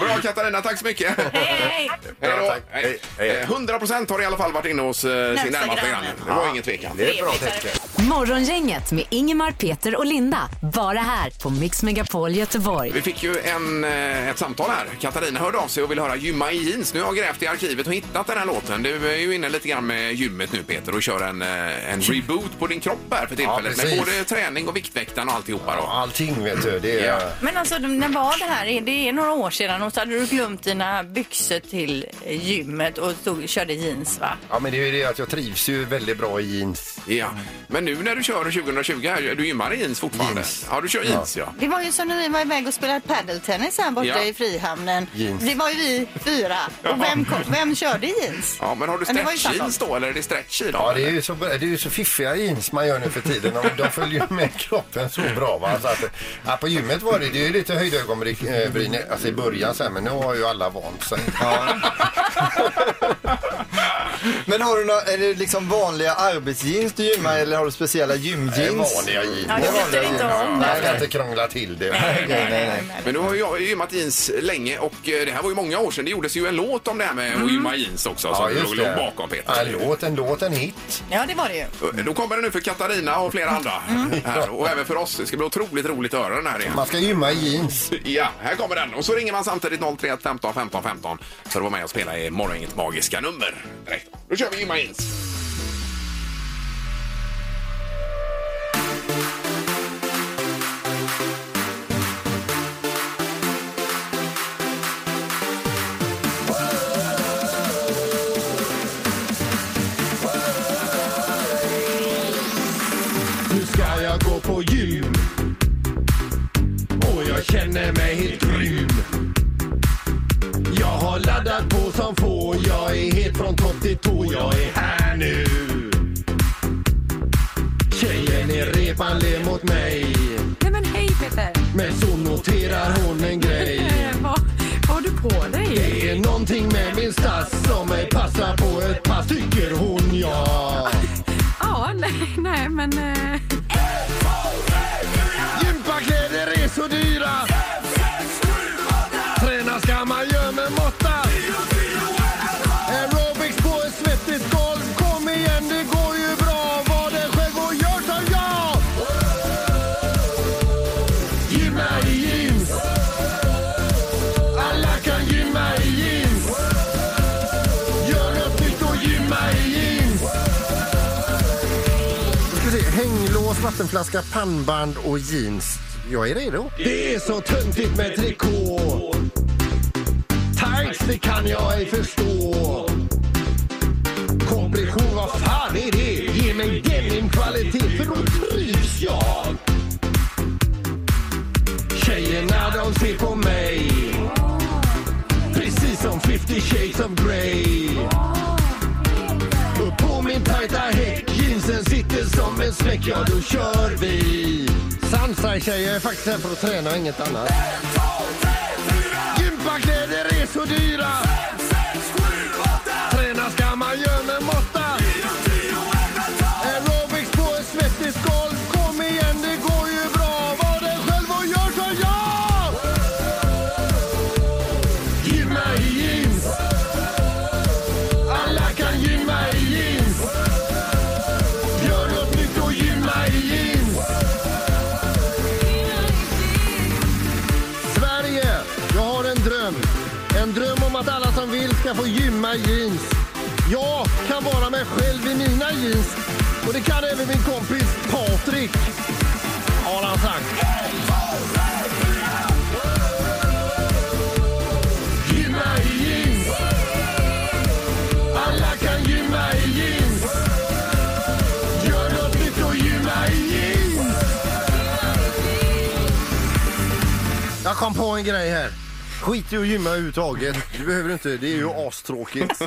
Speaker 2: Bra Katarina, tack så mycket.
Speaker 12: Hej,
Speaker 2: Hej då. Hej. Eh, 100 procent har i alla fall varit inne hos eh, sin
Speaker 1: Närmsta
Speaker 2: närmaste
Speaker 1: grannen.
Speaker 2: granne. Det var ingen tvekan.
Speaker 1: det är ett bra
Speaker 2: tecken.
Speaker 1: Morgongänget med Ingemar, Peter och Linda. Bara här på Mix Megapol Göteborg.
Speaker 2: Vi fick ju en, eh, ett samtal här. Katarina hörde av sig och vill höra Gymma i jeans. Nu har jag grävt i arkivet och hittat den här låten. Du är ju inne lite grann med gymmet nu Peter och kör en, eh, en reboot på din kropp här för tillfället. med
Speaker 13: precis.
Speaker 2: både träning och viktväktaren och alltihopa då.
Speaker 13: Allting vet du. Det är...
Speaker 3: Men alltså, de- när var det här? Det är några år sedan och så hade du glömt dina byxor till gymmet och stod, körde jeans va?
Speaker 13: Ja, men det är ju det att jag trivs ju väldigt bra i jeans.
Speaker 2: Ja, men nu när du kör 2020 här, du gymmar i jeans fortfarande? Ja, du kör jeans ja.
Speaker 14: Det var ju som när vi var iväg och spelade padeltennis här borta
Speaker 2: Ja.
Speaker 14: i Frihamnen.
Speaker 2: Jeans.
Speaker 14: Det var ju vi fyra.
Speaker 2: Ja.
Speaker 14: Och vem, kom, vem körde jeans?
Speaker 2: Ja, men har du
Speaker 14: Men det var ju
Speaker 2: stretch jeans
Speaker 14: samma.
Speaker 2: då eller är det stretch i då?
Speaker 13: Ja, det är ju så, det är ju så fiffiga jeans man gör nu för tiden. De, de följer ju med kroppen så bra. Va? Så att, ja, på gymmet var det, det är ju lite höjda ögonbryn eh, alltså i början, så här, men nu har ju alla vant sig.
Speaker 8: Men har du några, är det liksom vanliga arbetsjeans du gymmar eller har du speciella gymjeans?
Speaker 13: Det är vanliga jeans.
Speaker 8: Det är vanliga jeans.
Speaker 13: Man ska inte krångla till det.
Speaker 2: Men nu har jag gymmat jeans länge och eh, det här var ju många år sedan. Det gjordes ju en låt om det här
Speaker 13: Mm.
Speaker 2: med att gymma jeans också som låg låg bakom
Speaker 13: Ja,
Speaker 2: Peter.
Speaker 13: en låt, en låt, en hit.
Speaker 3: Ja, det var det ju.
Speaker 2: Mm. Då kommer det nu för Katarina och flera andra. Här, och även för oss. Det ska bli otroligt roligt att höra den här igen.
Speaker 13: Man ska gymma i jeans.
Speaker 2: Ja, här kommer den. Och så ringer man samtidigt 031 15 15 15 för att vara med och spela i morgongängets magiska nummer. Direkt. Då kör vi gymma jeans.
Speaker 4: Nu ska jag gå på gym Och jag känner mig helt grym Jag har laddat på som få Jag är helt från topp till tå Jag är här nu Tjejen i repan ler mot mig
Speaker 6: Nej men hej Peter!
Speaker 4: Men så noterar hon en grej
Speaker 6: Eh, vad, vad har du på dig?
Speaker 4: Det är någonting med min stass som mig passar på ett pass Tycker hon ja
Speaker 6: Ja, nej, nej men... Eh,
Speaker 4: Gympakläder är så dyra Träna ska man göra med måtta Aerobics på ett svettigt golv Kom igen, det går ju bra Var det själv och gör som jag Gymma i jeans Alla kan gymma i jeans Gör något nytt och gymma i jeans
Speaker 13: Ska vi se, hänglås, vattenflaska, pannband och jeans. Jag är redo.
Speaker 4: Det är så töntigt med trikå Tights, det kan jag ej förstå Kompression, vad fan är det? Ge mig denimkvalitet, för då trivs jag Tjejerna, de ser på mig Precis som 50 shades of grey Upp på min tajta häck Jeansen sitter som en smäck Ja, då kör vi
Speaker 13: Sansa tjejer är faktiskt här för att träna och inget annat.
Speaker 4: Gympakläder är så dyra Träna ska man göra med måtta Aerobics på ett svettigt golv Kom igen, det går ju bra Var dig själv och gör som jag Gymma i jeans Alla kan gymma i jeans Gör något nytt och gymma i jeans Sverige,
Speaker 13: jag har en dröm. En dröm om att alla som vill ska få gymma i jeans.
Speaker 15: Jag kan vara mig själv i mina jeans och det kan även min kompis Patrik, har han sagt. Gymma i jeans. Alla kan gymma i jeans. Gör något nytt och gymma i jeans.
Speaker 16: Jag kom på en grej här. Skit i att gymma överhuvudtaget. Du behöver inte, det är ju astråkigt.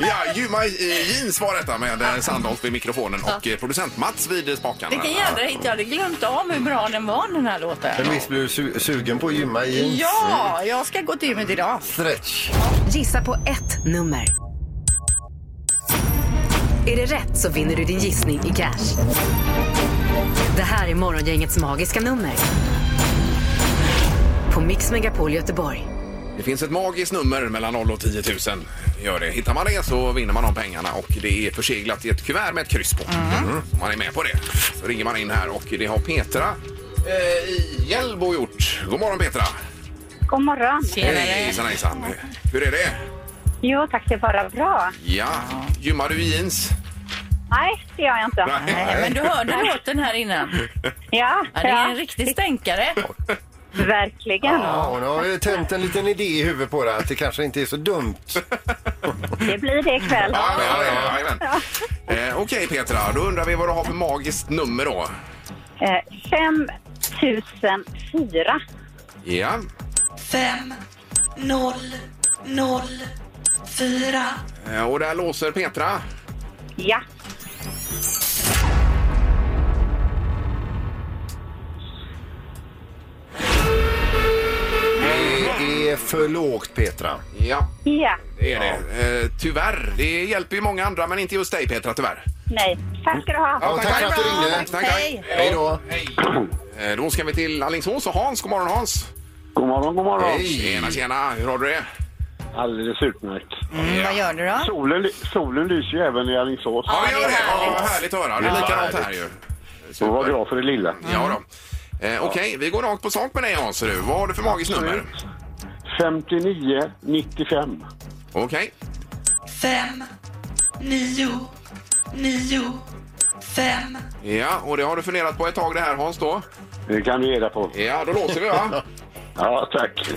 Speaker 2: Ja, Juma Jeans var detta med eh, Sandholt vid mikrofonen och eh, producent Mats vid spakarna.
Speaker 3: Vilken jädra hit. Jag hade glömt av hur bra den var den här låten.
Speaker 4: Men visst blir du su- sugen på att gymma i jeans?
Speaker 3: Ja, jag ska gå till gymmet idag.
Speaker 4: Stretch.
Speaker 1: Gissa på ett nummer. Är det rätt så vinner du din gissning i cash. Det här är Morgongängets magiska nummer. På Mix Megapol Göteborg.
Speaker 2: Det finns ett magiskt nummer mellan 0 och 10 000. Gör det. Hittar man det så vinner man de pengarna och det är förseglat i ett kuvert med ett kryss på. Mm. Om man är med på det så ringer man in här och det har Petra eh, i Hjällbo gjort. God morgon Petra!
Speaker 6: God morgon.
Speaker 2: Hejsan hejsan! Hur är det?
Speaker 6: Jo, tack. Det är bara bra.
Speaker 2: Ja, gymmar du i jeans?
Speaker 6: Nej, det gör jag inte.
Speaker 2: Nej,
Speaker 3: Men du hörde låten här innan.
Speaker 6: Ja,
Speaker 3: Ja, det är
Speaker 6: ja.
Speaker 3: en riktig stänkare.
Speaker 6: Verkligen.
Speaker 4: Ja, hon har ju tänt en liten idé i huvudet på det att det kanske inte är så dumt.
Speaker 6: Det blir det ikväll.
Speaker 2: Ja, ja, ja, jajamän. Eh, Okej Petra, då undrar vi vad du har för magiskt nummer då.
Speaker 6: Eh, 5004.
Speaker 2: Ja,
Speaker 12: Fem, noll, noll, fyra.
Speaker 2: eh, och där låser Petra.
Speaker 6: Ja.
Speaker 4: Det är för lågt Petra.
Speaker 2: Ja,
Speaker 6: Ja.
Speaker 2: det är det. Eh, tyvärr. Det hjälper ju många andra men inte just dig Petra tyvärr.
Speaker 6: Nej. Tack ska du ha.
Speaker 2: Ja, tack för att du ringde. Tack, tack.
Speaker 6: Hej.
Speaker 2: Hej då. Eh, Då ska vi till Alingsås och Hans. God morgon Hans.
Speaker 9: God morgon, god morgon.
Speaker 2: Hej. Tjena, tjena. Hur har du det?
Speaker 9: Alldeles utmärkt.
Speaker 3: Mm, Vad gör du då?
Speaker 9: Solen, ly- solen lyser ju även i Alingsås.
Speaker 2: Ja, det gör det. Ja, vad härligt att höra. Det är likadant här ju.
Speaker 9: Så var bra för det lilla.
Speaker 2: Ja då. Eh, Okej, vi går rakt på sak med dig Hans. ser du. Vad har du för magiskt nummer?
Speaker 9: 59, 95.
Speaker 2: Okej.
Speaker 12: Fem, nio, nio, fem.
Speaker 2: Ja, och det har du funderat på ett tag det här Hans då?
Speaker 9: Det kan du ge dig på.
Speaker 2: Ja, då låser vi va?
Speaker 9: Ja, tack.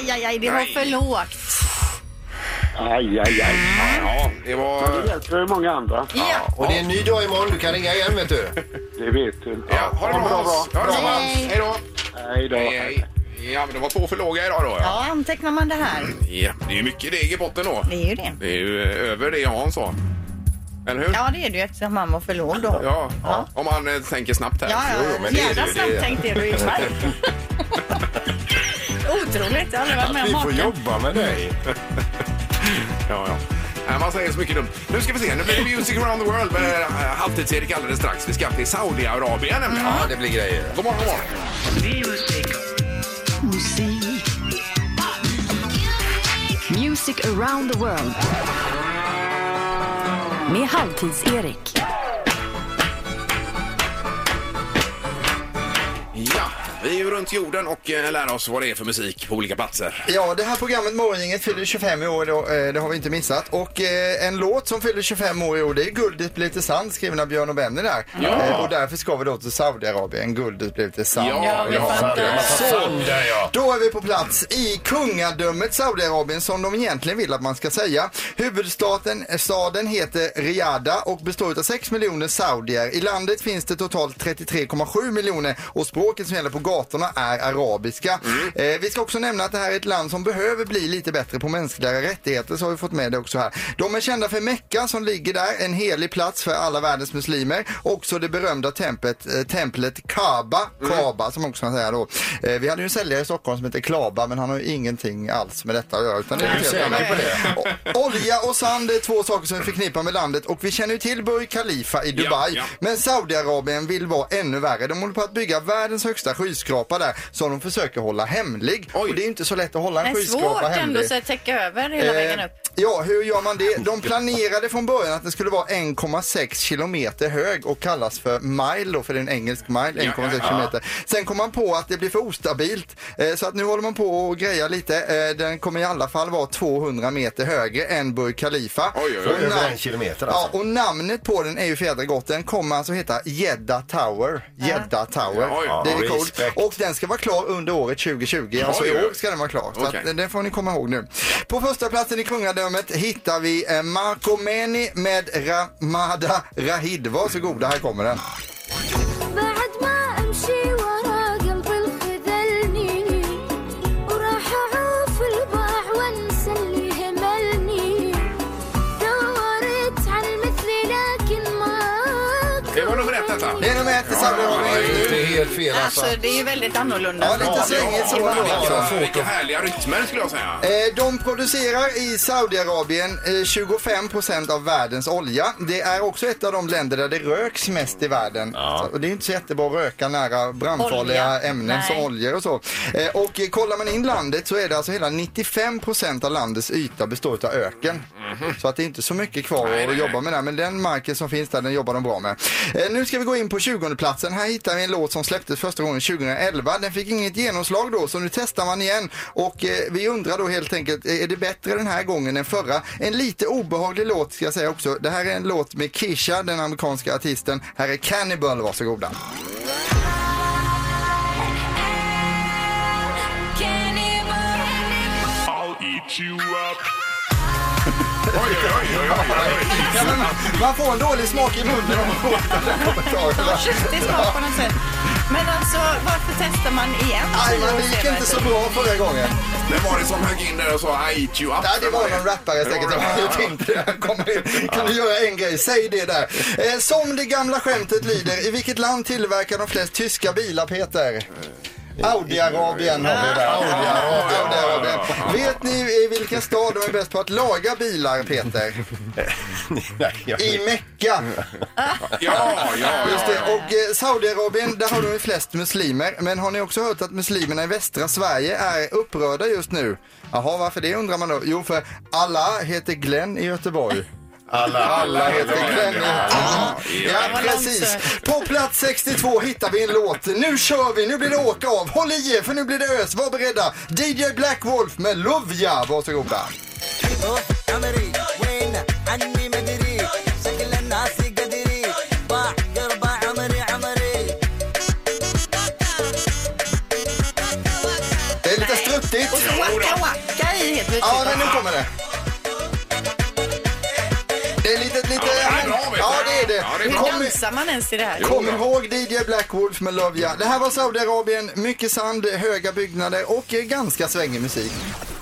Speaker 3: Aj, aj, aj, det var för lågt.
Speaker 9: Aj, aj, aj.
Speaker 2: Ja, det var...
Speaker 9: Men det hjälper ju många andra.
Speaker 3: Ja.
Speaker 4: Och det är en ny dag imorgon. Du kan ringa igen vet du.
Speaker 9: Det vet du.
Speaker 2: Ja, ha det bra Hans. Ha det bra Hans. Hej då.
Speaker 9: Hej då.
Speaker 2: Hej, hej. Ja, men det var två för låga idag då. Ja.
Speaker 3: Ja, antecknar man det här?
Speaker 2: ja, det är ju mycket deg i botten då.
Speaker 3: Det är ju det.
Speaker 2: Det är ju eh, över det Hans sa. Eller hur?
Speaker 3: Ja, det är det ju eftersom han var för låg då.
Speaker 2: Ja, om han eh, tänker snabbt här.
Speaker 3: Ja, ja,
Speaker 2: Jo, jo, men det är
Speaker 3: jädra
Speaker 2: det.
Speaker 3: snabbt tänkte du Ingmar. Otroligt, jag har aldrig varit med om maken.
Speaker 4: jobba med dig.
Speaker 2: ja, ja. Nej, Man säger så mycket dumt. Nu ska vi se, nu blir det Music around the world med eh, Halvtids-Erik alldeles strax. Vi ska till Saudiarabien nämligen.
Speaker 4: Ja, det blir grejer.
Speaker 2: God morgon, god morgon.
Speaker 1: Music around the world. Med Halvtids-Erik.
Speaker 2: Ja, vi är ju runt jorden och eh, lär oss vad det är för musik på olika platser.
Speaker 8: Ja, det här programmet Morgongänget fyller 25 i år, då, eh, det har vi inte missat. Och eh, en låt som fyller 25 år i år, det är Guldet blir till sand, skriven av Björn och Benny där.
Speaker 2: Ja.
Speaker 8: Eh, och därför ska vi då till Saudiarabien, Guldet blir till sand.
Speaker 2: Ja, vi fattar.
Speaker 8: Så,
Speaker 2: Sand, ja, ja.
Speaker 8: då är vi på plats i kungadömet Saudiarabien som de egentligen vill att man ska säga. Huvudstaden eh, staden heter Riyadh och består av 6 miljoner saudier. I landet finns det totalt 33,7 miljoner och språket som gäller på gatorna är arabiska.
Speaker 2: Mm.
Speaker 8: Eh, vi ska också nämna att det här är ett land som behöver bli lite bättre på mänskliga rättigheter så har vi fått med det också här. De är kända för Mecka som ligger där, en helig plats för alla världens muslimer. Också det berömda templet, eh, templet Kaaba,
Speaker 4: Mm.
Speaker 8: Kaaba som man också kan säga då. Eh, vi hade ju en säljare i Stockholm som heter Klaba men han har ju ingenting alls med detta att göra utan det är
Speaker 4: Nej,
Speaker 8: något helt
Speaker 4: säkert
Speaker 8: annat.
Speaker 4: på det.
Speaker 8: O- Olja och sand är två saker som vi förknippar med landet och vi känner ju till Burj Khalifa i Dubai.
Speaker 4: ja.
Speaker 8: Men Saudiarabien vill vara ännu värre. De håller på att bygga världens högsta skyskrapa där som de försöker hålla hemlig. Och det är ju inte så lätt att hålla en
Speaker 3: Men
Speaker 8: skyskrapa
Speaker 3: svårt
Speaker 8: hemlig. Eh,
Speaker 3: ändå så att täcka över hela vägen upp.
Speaker 8: Ja, hur gör man det? De planerade från början att den skulle vara 1,6 kilometer hög och kallas för mile då, för det är en engelsk mile, 1,6
Speaker 12: ja, ja.
Speaker 8: kilometer. Sen kom man på att det blir för ostabilt, eh, så att nu håller man på och grejar lite. Eh, Den kommer i alla fall vara 200 meter högre än Burj Khalifa.
Speaker 4: oj, oj. Över en kilometer, alltså.
Speaker 8: Ja, och namnet på den är ju fjädra gott. Den kommer alltså heta Jeddah Tower. Jeddah Tower.
Speaker 4: Ja, oj.
Speaker 8: det är
Speaker 4: Ja,
Speaker 8: coolt.
Speaker 4: respekt.
Speaker 8: Och den ska vara klar under året 2020, alltså
Speaker 4: Oj,
Speaker 8: i
Speaker 4: oj,
Speaker 8: år
Speaker 4: oj.
Speaker 8: ska den vara klar. Så
Speaker 4: Okej.
Speaker 8: att det får ni komma ihåg nu. På första platsen i kungadömet hittar vi eh, Marco Meni med Ramada Rahid. Varsågoda, här kommer den.
Speaker 12: بعد ما امشي ورا قلبي الخذلني وراح اعوف الباع وانسى اللي هملني دورت على مثلي لكن ما
Speaker 2: Det var nummer ett detta.
Speaker 8: Det är nummer ett i sammanhanget.
Speaker 4: Det är helt fel alltså.
Speaker 3: Alltså det är väldigt annorlunda.
Speaker 8: Ja, lite svängigt så alltså. var det
Speaker 2: Vilka,
Speaker 8: också.
Speaker 2: vilka härliga rytmer skulle jag säga.
Speaker 8: Eh, De producerar i Saudiarabien eh, 25 procent av världens olja. Det är också ett av de länder där det röks mest i världen. Så- Och det är inte så jättebra att röka nära brandfarliga
Speaker 12: Olja.
Speaker 8: ämnen som
Speaker 12: Nej.
Speaker 8: oljor och så. Eh, Och eh, kollar man in landet så är det alltså hela 95 procent av landets yta består av öken. Så att det är inte så mycket kvar
Speaker 2: Mhm. Nej, nej,
Speaker 8: att
Speaker 2: nej.
Speaker 8: jobba med där. Men den marken som finns där, den jobbar de bra med. Eh, Nu ska vi gå in på 20 platsen. Här hittar vi en låt som släpptes första gången 2011. Den fick inget genomslag då, så nu testar man igen. Och eh, vi undrar då helt enkelt, eh, är det bättre den här gången än förra? En lite obehaglig låt ska jag säga också. Det här är en låt med Kesha, den amerikanska artisten. Här är Cannibal, varsågoda.
Speaker 12: I'll eat you
Speaker 2: *laughs*
Speaker 12: up.
Speaker 8: Ja, men man- man får en dålig smak i munnen om man får den här kommentaren.
Speaker 3: Köttig smak på något sätt. Men alltså varför testar man igen?
Speaker 8: Aj, men det gick inte så bra förra gången.
Speaker 2: Vem var det som högg in där och sa I eat you up?
Speaker 8: Ja, det var någon rappare säkert. Jag tänkte det. Han kommer- Kan du göra en grej? Säg det där. Eh, Som det gamla skämtet lyder, i vilket land tillverkar de flest tyska bilar, Peter? Saudiarabien har vi där. Saudiarabien, Saudiarabien. Vet ni i vilken stad de är bäst på att laga bilar, Peter? I Mecka. *laughs*
Speaker 2: Ja, ja,
Speaker 8: Just
Speaker 2: ja.
Speaker 8: det. Och eh, Saudiarabien, där har de ju flest muslimer. Men har ni också hört att muslimerna i västra Sverige är upprörda just nu? Jaha, varför det undrar man då? Jo, för alla heter Glenn i Göteborg.
Speaker 4: Alla,
Speaker 8: Alla heter Glenn. i- Ja,
Speaker 12: Ja,
Speaker 8: precis. På plats 62 hittar vi en låt. Nu kör vi, nu blir det åka av. Håll i er, för nu blir det ös. Var beredda. DJ Black Wolf med Love Ya. Varsågoda.
Speaker 12: أمري وين عني ما أدري شكل الناس قدري باع قربة عمري عمري
Speaker 8: Det är lite struttigt.
Speaker 3: Och så wacka wacka i helt plötsligt.
Speaker 8: Ja, men nu kommer det. Det är lite, lite...
Speaker 3: Ja,
Speaker 2: det är bra, vet du.
Speaker 8: ja, det är det.
Speaker 2: Ja, det är bra.
Speaker 8: Kom,
Speaker 3: Hur dansar man ens till det här?
Speaker 8: kom ihåg DJ Black Wolf med Love Ya. Det här var Saudiarabien, mycket sand, höga byggnader och eh, ganska svängig musik.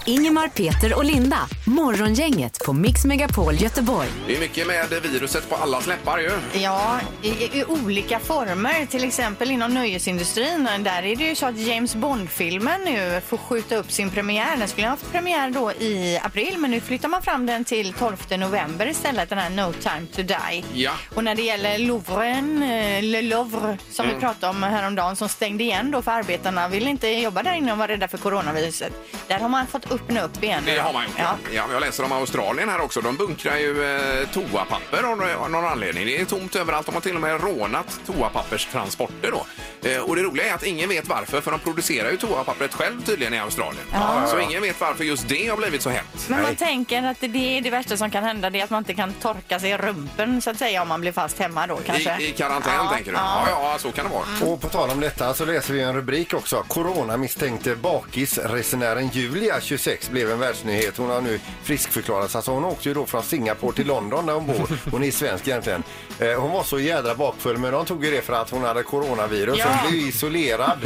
Speaker 1: Ingemar, Peter och Linda. Morgongänget på Mix Megapol Göteborg.
Speaker 2: Det är mycket med viruset på alla släppar ju.
Speaker 3: Ja, i, i olika former. Till exempel inom nöjesindustrin. Där är det ju så att James Bond-filmen nu får skjuta upp sin premiär. Den skulle ha haft premiär då i april men nu flyttar man fram den till 12 november istället. Den här No time to die.
Speaker 2: Ja.
Speaker 3: Och när det gäller Louvren, eh, Le Louvre, som
Speaker 2: Mm.
Speaker 3: vi pratade om häromdagen, som stängde igen då för arbetarna, ville inte jobba där inne och var rädda för coronaviruset. Där har man fått öppna upp igen.
Speaker 2: Det har man gjort. Ja.
Speaker 3: Ja.
Speaker 2: Ja, jag läser om Australien här också. De bunkrar ju eh, toapapper av nå- av någon anledning. Det är tomt överallt. De har till och med rånat toapapperstransporter då. Eh, och det roliga är att ingen vet varför, för de producerar ju toapappret själv tydligen i Australien.
Speaker 3: Ja.
Speaker 2: Så ingen vet varför just det har blivit så hett.
Speaker 3: Men man tänker att det är det värsta som kan hända, det är att man inte kan torka sig i rumpen så att säga om man blir fast hemma då kanske.
Speaker 2: I, I karantän
Speaker 3: Ja,
Speaker 2: tänker du? Ja. Mm.
Speaker 3: ja.
Speaker 2: ja, så kan det vara.
Speaker 4: Och på tal om detta så läser vi en rubrik också. Corona misstänkte bakisresenären Julia, 26, blev en världsnyhet. Hon har nu friskförklarats. Alltså hon åkte ju då från Singapore till London där hon bor. Hon är svensk egentligen. Eh, Hon var så jädra bakfull men de tog ju det för att hon hade coronavirus.
Speaker 3: Ja.
Speaker 4: Hon
Speaker 3: *laughs*
Speaker 4: blev isolerad.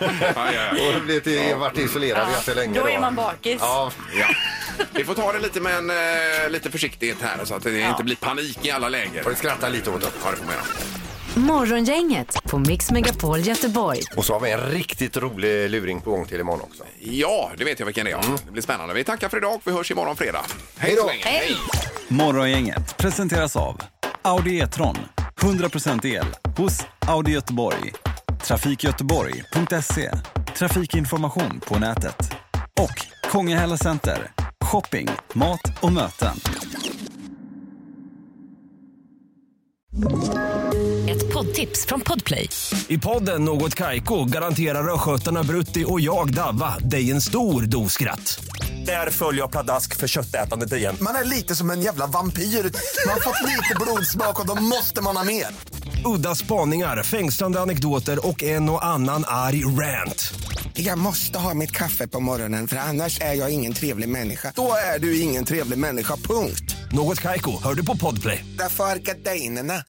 Speaker 4: Hon blev till, varit isolerad
Speaker 3: Ja.
Speaker 4: ganska länge.
Speaker 3: Då är man bakis.
Speaker 4: Ja.
Speaker 2: Ja. Vi får ta det lite med en, eh, lite försiktighet här så att det inte blir panik i alla läger. Får
Speaker 4: du skratta lite åt det?
Speaker 2: Ja, det får man göra.
Speaker 1: Morgongänget på Mix Megapol Göteborg.
Speaker 4: Och så har vi en riktigt rolig luring på gång till imorgon också.
Speaker 2: Ja, det vet jag vilken det är. Det blir spännande. Vi tackar för idag och vi hörs imorgon fredag. Mm. Hej så länge. Hej.
Speaker 17: Morgongänget presenteras av Audi E-tron. 100% el hos Audi Göteborg. Trafikgöteborg.se. Trafikinformation på nätet. Och Kongahälla Center.
Speaker 18: Shopping, mat och möten.
Speaker 1: Ett poddtips från Podplay.
Speaker 9: I podden Något Kaiko garanterar östgötarna Brutti och jag, Davva, dig en stor dos skratt. Där följer jag pladask för köttätandet igen.
Speaker 8: Man är lite som en jävla vampyr. Man har fått lite blodsmak och då måste man ha mer.
Speaker 9: Udda spaningar, fängslande anekdoter och en och annan arg rant.
Speaker 8: Jag måste ha mitt kaffe på morgonen för annars är jag ingen trevlig människa. Då är du ingen trevlig människa, punkt.
Speaker 9: Något Kaiko, hör du på Podplay.
Speaker 8: Därför arkadeinerna.